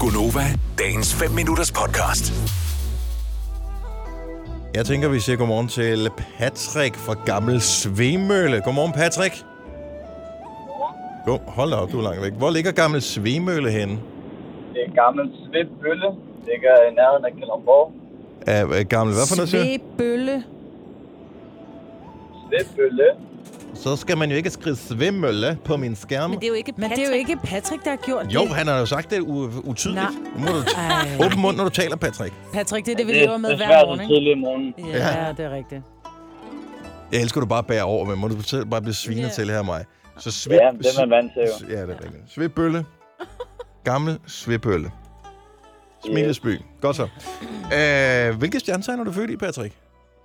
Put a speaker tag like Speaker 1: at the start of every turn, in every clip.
Speaker 1: Gunova, dagens 5 minutters podcast.
Speaker 2: Jeg tænker, vi siger godmorgen til Patrick fra Gammel Svemølle. Godmorgen, Patrick. Jo, hold da op, du er langt væk. Hvor ligger Gammel Svemølle henne?
Speaker 3: Det er gammel Svendbølle. Ligger i nærheden af Kalundborg.
Speaker 2: Er, er gammel, hvad for noget siger du?
Speaker 4: Svebølle.
Speaker 3: Svendbølle.
Speaker 2: Så skal man jo ikke skrive Svemølle på min skærm.
Speaker 5: Men det er jo ikke
Speaker 4: Men det er jo ikke Patrick, der har gjort
Speaker 2: Jo,
Speaker 4: det.
Speaker 2: han har jo sagt det u- utydeligt.
Speaker 4: Nej.
Speaker 2: Nu må du t-
Speaker 4: Ej,
Speaker 2: åbne mund, når du taler, Patrick.
Speaker 4: Patrick, det er det, vi
Speaker 3: Det,
Speaker 4: lever
Speaker 3: er- det
Speaker 4: med
Speaker 3: er
Speaker 4: hver
Speaker 3: svært så
Speaker 4: morgen, ikke?
Speaker 3: tidlig i morgen.
Speaker 4: Ja, det er rigtigt.
Speaker 2: Jeg elsker, du bare bærer over, men må du selv bare blive svinet yeah. til her, mig. Så svip,
Speaker 3: Ja, det er man vant til jo.
Speaker 2: S- Ja, det er rigtigt. Svipbølle. Gammel svipbølle. Smilesby. Godt så. Øh, hvilke stjernetegn er du født i, Patrick?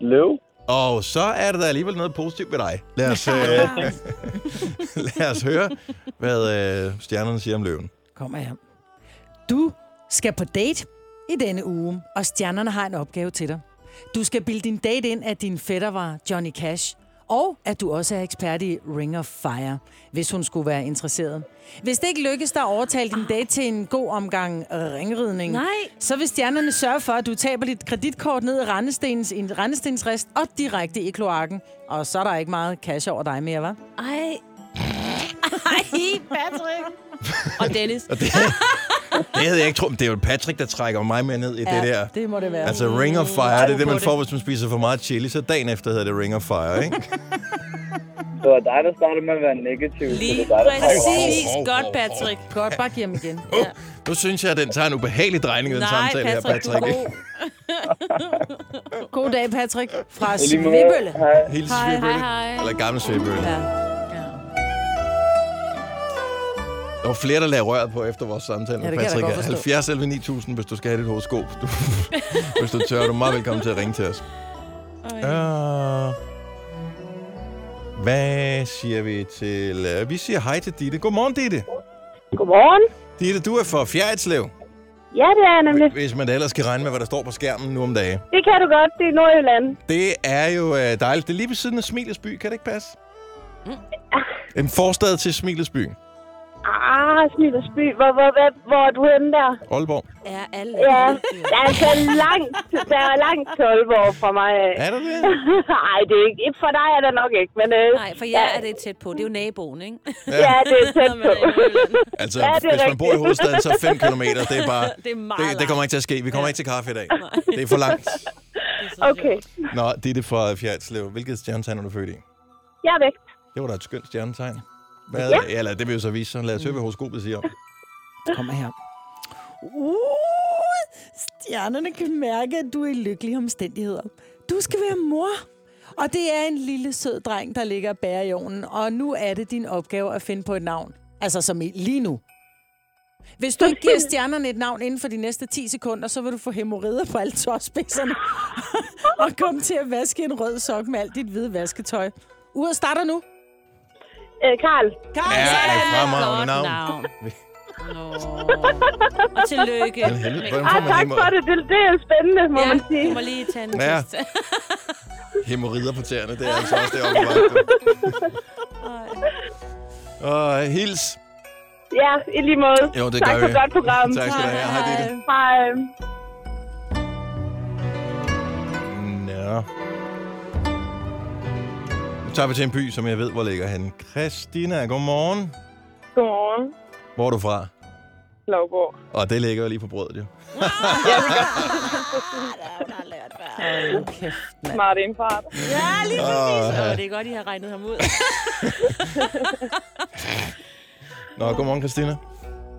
Speaker 3: Løv.
Speaker 2: Og så er der da alligevel noget positivt ved dig. Lad os, øh, lad os høre, hvad øh, stjernerne siger om løven.
Speaker 4: Kommer jeg. Du skal på date i denne uge, og stjernerne har en opgave til dig. Du skal bilde din date ind, at din fætter var Johnny Cash, og at du også er ekspert i Ring of Fire, hvis hun skulle være interesseret. Hvis det ikke lykkes dig at overtale din date til en god omgang ringridning,
Speaker 5: Nej.
Speaker 4: så vil stjernerne sørge for, at du taber dit kreditkort ned i Randestenens, i en randestensrest og direkte i kloakken. Og så er der ikke meget cash over dig mere, hva'?
Speaker 5: Ej. Ej, Patrick. Og Dennis.
Speaker 2: Og det, det havde jeg ikke troet. men Det er jo Patrick, der trækker mig med ned i det der.
Speaker 4: det må det være.
Speaker 2: Altså, ring of fire, det er det,
Speaker 5: på
Speaker 2: man
Speaker 5: det.
Speaker 2: får, hvis man spiser for meget chili. Så dagen efter hedder det ring of fire, ikke?
Speaker 3: Det var dig, der startede med at være negativ. så
Speaker 5: Lige
Speaker 3: det er dig, der
Speaker 5: præcis.
Speaker 2: Hov, hov,
Speaker 5: Godt,
Speaker 2: hov,
Speaker 5: Patrick.
Speaker 4: Godt, bare giv ham igen.
Speaker 2: Uh, nu synes jeg, at den tager en ubehagelig drejning, den
Speaker 5: Nej,
Speaker 2: samtale her,
Speaker 5: Patrick, du er
Speaker 2: Patrick.
Speaker 4: God dag, Patrick, fra
Speaker 3: I lige måde.
Speaker 4: Svibølle.
Speaker 3: Hej.
Speaker 2: Helt
Speaker 5: Hej, hej,
Speaker 2: svibølle.
Speaker 5: hej.
Speaker 2: Eller gamle svibølle.
Speaker 4: Ja.
Speaker 2: Der var flere, der lagde røret på efter vores samtale
Speaker 4: Ja,
Speaker 2: med
Speaker 4: det kan jeg da
Speaker 2: Patrick.
Speaker 4: godt forstå.
Speaker 2: 70 11 9000, hvis du skal have dit horoskop. Du, hvis du tør, du er meget velkommen til at ringe til os. Uh, hvad siger vi til... Uh, vi siger hej til Ditte. Godmorgen, Ditte.
Speaker 6: Godmorgen.
Speaker 2: Ditte, du er fra Fjerritslev.
Speaker 6: Ja, det er jeg nemlig.
Speaker 2: Hvis man da ellers kan regne med, hvad der står på skærmen nu om dagen.
Speaker 6: Det kan du godt. Det er Nordjylland.
Speaker 2: Det er jo uh, dejligt. Det er lige ved siden af Smilesby. Kan det ikke passe?
Speaker 4: Mm.
Speaker 2: En forstad til Smilesby.
Speaker 6: Ah, Smilersby. Hvor, hvor, hvor, hvor er du henne der?
Speaker 2: Aalborg.
Speaker 5: Er alle.
Speaker 6: Ja, der er altså langt, der er langt til Aalborg fra mig. af.
Speaker 2: Er der det?
Speaker 6: Ej, det er ikke, for dig er der nok ikke, men øh,
Speaker 5: Nej, for jer er det tæt på. Det er jo naboen, ikke?
Speaker 6: ja, det er tæt
Speaker 5: Når man
Speaker 6: på.
Speaker 5: er øh, i Nordjylland.
Speaker 2: Altså,
Speaker 6: Ja,
Speaker 2: ja,
Speaker 6: det er
Speaker 2: hvis man
Speaker 6: rigtigt.
Speaker 2: bor i hovedstaden, så 5 km, det er bare...
Speaker 5: Det er meget
Speaker 2: det, det kommer ikke til at ske. Vi kommer ja. ikke til kaffe i dag. Det er for langt.
Speaker 6: Okay,
Speaker 2: Nå, det er det fra Fjerdslev. Hvilket stjernetegn er du født i?
Speaker 6: jeg er væk.
Speaker 2: Det var da et skønt stjernetegn. Hvad?
Speaker 6: Ja. Altså,
Speaker 2: Ja. Eller det vil jo så vise sig. Lad os høre, hvad horoskopet siger.
Speaker 4: Kommer her. Uh, stjernerne kan mærke, at du er i lykkelige omstændigheder. Du skal være mor. Og det er en lille sød dreng, der ligger og bærer i ovnen. Og nu er det din opgave at finde på et navn. Altså som i lige nu. Hvis du ikke giver stjernerne et navn inden for de næste 10 sekunder, så vil du få hemorrider på alle tåspidserne. og komme til at vaske en rød sok med alt dit hvide vasketøj. Uret starter nu.
Speaker 6: Øh, Karl,
Speaker 4: Karl,
Speaker 2: Ja,
Speaker 4: sådan.
Speaker 2: det er fremragende
Speaker 5: Godt
Speaker 2: navn.
Speaker 5: navn. Nå. Og tillykke.
Speaker 2: Men helvede, hvordan
Speaker 6: ah,
Speaker 2: får man
Speaker 6: tak for
Speaker 2: hemor-
Speaker 6: det. det. Det er spændende, må man
Speaker 5: Ja,
Speaker 6: sige.
Speaker 5: du må lige tage en
Speaker 2: Ja.
Speaker 5: test.
Speaker 2: hemorrider på tæerne? Det er altså også det opvagt. Og hils.
Speaker 6: Ja, i lige måde.
Speaker 2: Jo, det
Speaker 6: tak
Speaker 2: gør
Speaker 6: for
Speaker 2: vi.
Speaker 6: et godt program.
Speaker 2: Tak skal du have. Hej, Ditte.
Speaker 6: Hej.
Speaker 2: Nå. Nu tager vi til en by, som jeg ved, hvor ligger han. Christina, godmorgen.
Speaker 6: Godmorgen.
Speaker 2: Hvor er du fra?
Speaker 6: Lovgård.
Speaker 2: Og det ligger jo lige på brødet, jo.
Speaker 6: Smart indfart.
Speaker 5: Ja, lige præcis.
Speaker 2: Åh, ja.
Speaker 5: Åh, det er godt, I har regnet ham ud.
Speaker 2: Nå, godmorgen, Christina.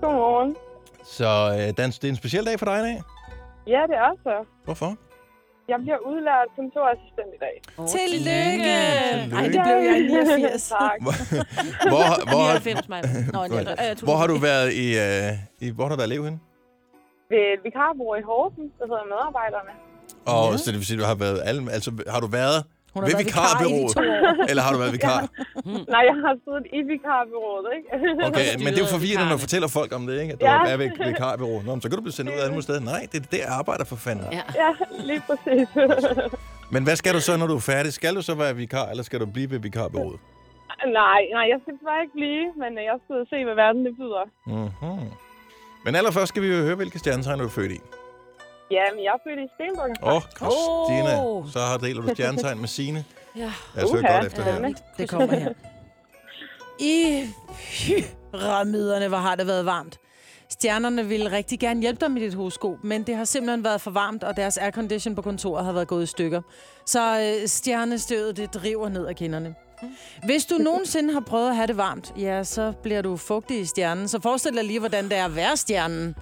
Speaker 6: Godmorgen.
Speaker 2: Så øh, dans, det er en speciel dag for dig i dag.
Speaker 6: Ja, det er også.
Speaker 2: Hvorfor?
Speaker 6: Jeg bliver udlært kontorassistent i dag.
Speaker 4: Tillykke. Ej, det
Speaker 2: Tillykke.
Speaker 4: blev jeg i 89.
Speaker 6: tak.
Speaker 2: Hvor, hvor,
Speaker 5: 99, Maja. Nå,
Speaker 2: Hvor-
Speaker 5: 99. Øh,
Speaker 2: hvor har du været i... Øh, i hvor har du været elev henne?
Speaker 6: Ved et vikarbureau i Horsens, der hedder Medarbejderne.
Speaker 2: Og ja. så det vil sige, du har været... Alle, altså, har du været
Speaker 4: Hun har været vikar i de
Speaker 2: vikarbureauet?
Speaker 4: to år.
Speaker 2: Eller har du været vikar?
Speaker 6: Nej, jeg har siddet i vikarbyrået, ikke?
Speaker 2: Okay, men det er jo forvirrende, når
Speaker 5: vikarerne.
Speaker 2: du fortæller folk om det, ikke? At du
Speaker 6: Ja.
Speaker 2: ja. er ved ved vikarbureauet. Nå, men så kan du blive sendt ud af alle mulige steder. Nej, det er der, jeg arbejder for fanden. Ja.
Speaker 5: Ja.
Speaker 6: ja, lige præcis.
Speaker 2: Men hvad skal du så, når du er færdig? Skal du så være vikar, eller skal du blive ved vikarbureauet?
Speaker 6: nej, nej, jeg skal bare ikke blive, men øh, jeg skal ud og se, hvad verden det byder.
Speaker 2: Mhm. Men allerførst skal vi jo høre, hvilke stjernetegn du er født i.
Speaker 6: Ja, men jeg er født i Stenbukken.
Speaker 2: Åh, oh, Christina,
Speaker 5: Åh.
Speaker 2: så har deler du stjernetegn med Signe.
Speaker 5: Ja.
Speaker 2: Jeg søger
Speaker 6: Uha,
Speaker 2: godt efter
Speaker 6: ja,
Speaker 2: her.
Speaker 6: men-
Speaker 4: Det kommer her. I pyramiderne, hvor har det været varmt. Stjernerne ville rigtig gerne hjælpe dig med dit horoskop, men det har simpelthen været for varmt, og deres aircondition på kontoret har været gået i stykker. Så øh, stjernestøvet, det driver ned ad kinderne. Hvis du nogensinde har prøvet at have det varmt, ja, så bliver du fugtig i stjernen. Så forestil dig lige, hvordan det er at være stjernen.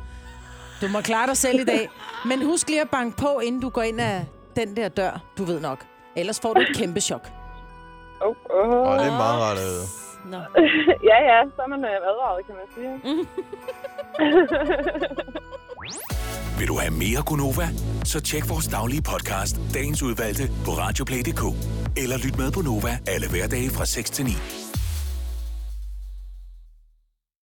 Speaker 4: Du må klare dig selv i dag. Men husk lige at banke på, inden du går ind ad den der dør. Du ved nok. Ellers får du et kæmpe chok.
Speaker 6: Oh, oh.
Speaker 2: Åh, det er meget rart. øh.
Speaker 5: Nå.
Speaker 6: Ja, ja, så er man øh, advaret, kan man sige.
Speaker 1: Vil du have mere Gunova? Så tjek vores daglige podcast, dagens udvalgte, på radioplay.dk. Eller lyt med på Nova alle hverdage fra 6 til 9.